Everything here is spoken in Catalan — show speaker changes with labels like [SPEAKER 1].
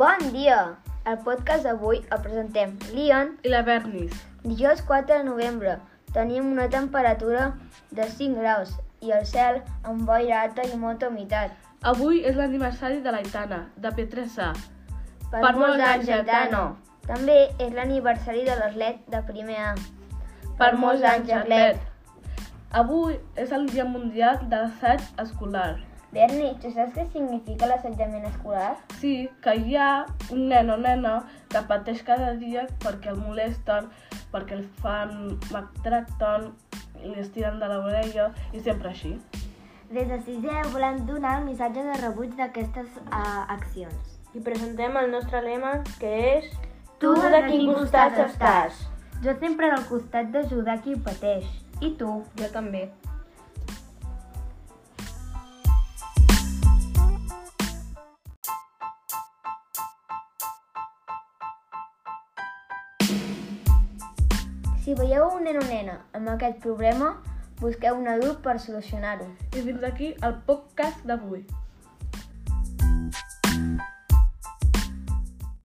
[SPEAKER 1] Bon dia! Al podcast d'avui el presentem l'Ian.
[SPEAKER 2] I la Bernis.
[SPEAKER 1] Dijous 4 de novembre tenim una temperatura de 5 graus i el cel amb boira alta i molta humitat.
[SPEAKER 2] Avui és l'aniversari de l'Aitana, de P3A.
[SPEAKER 1] Per,
[SPEAKER 2] molts anys, Aitano.
[SPEAKER 1] També és l'aniversari de l'Arlet de primer A.
[SPEAKER 2] Per molts anys, Arlet. Avui és el Dia Mundial de l'Assaig Escolar.
[SPEAKER 1] Berni, tu saps què significa l'assetjament escolar?
[SPEAKER 2] Sí, que hi ha un nen o nena que pateix cada dia perquè el molesten, perquè el fan maltracten, li estiren de l'orella i sempre així.
[SPEAKER 3] Des de sisè volem donar el missatge de rebuig d'aquestes uh, accions.
[SPEAKER 4] i presentem el nostre lema, que és...
[SPEAKER 3] Tu de quin costat
[SPEAKER 4] estàs?
[SPEAKER 3] Jo sempre del costat d'ajudar qui pateix. I tu?
[SPEAKER 1] Jo també. Si veieu un nen o nena amb aquest problema, busqueu un adult per solucionar-ho.
[SPEAKER 2] I fins aquí el podcast d'avui.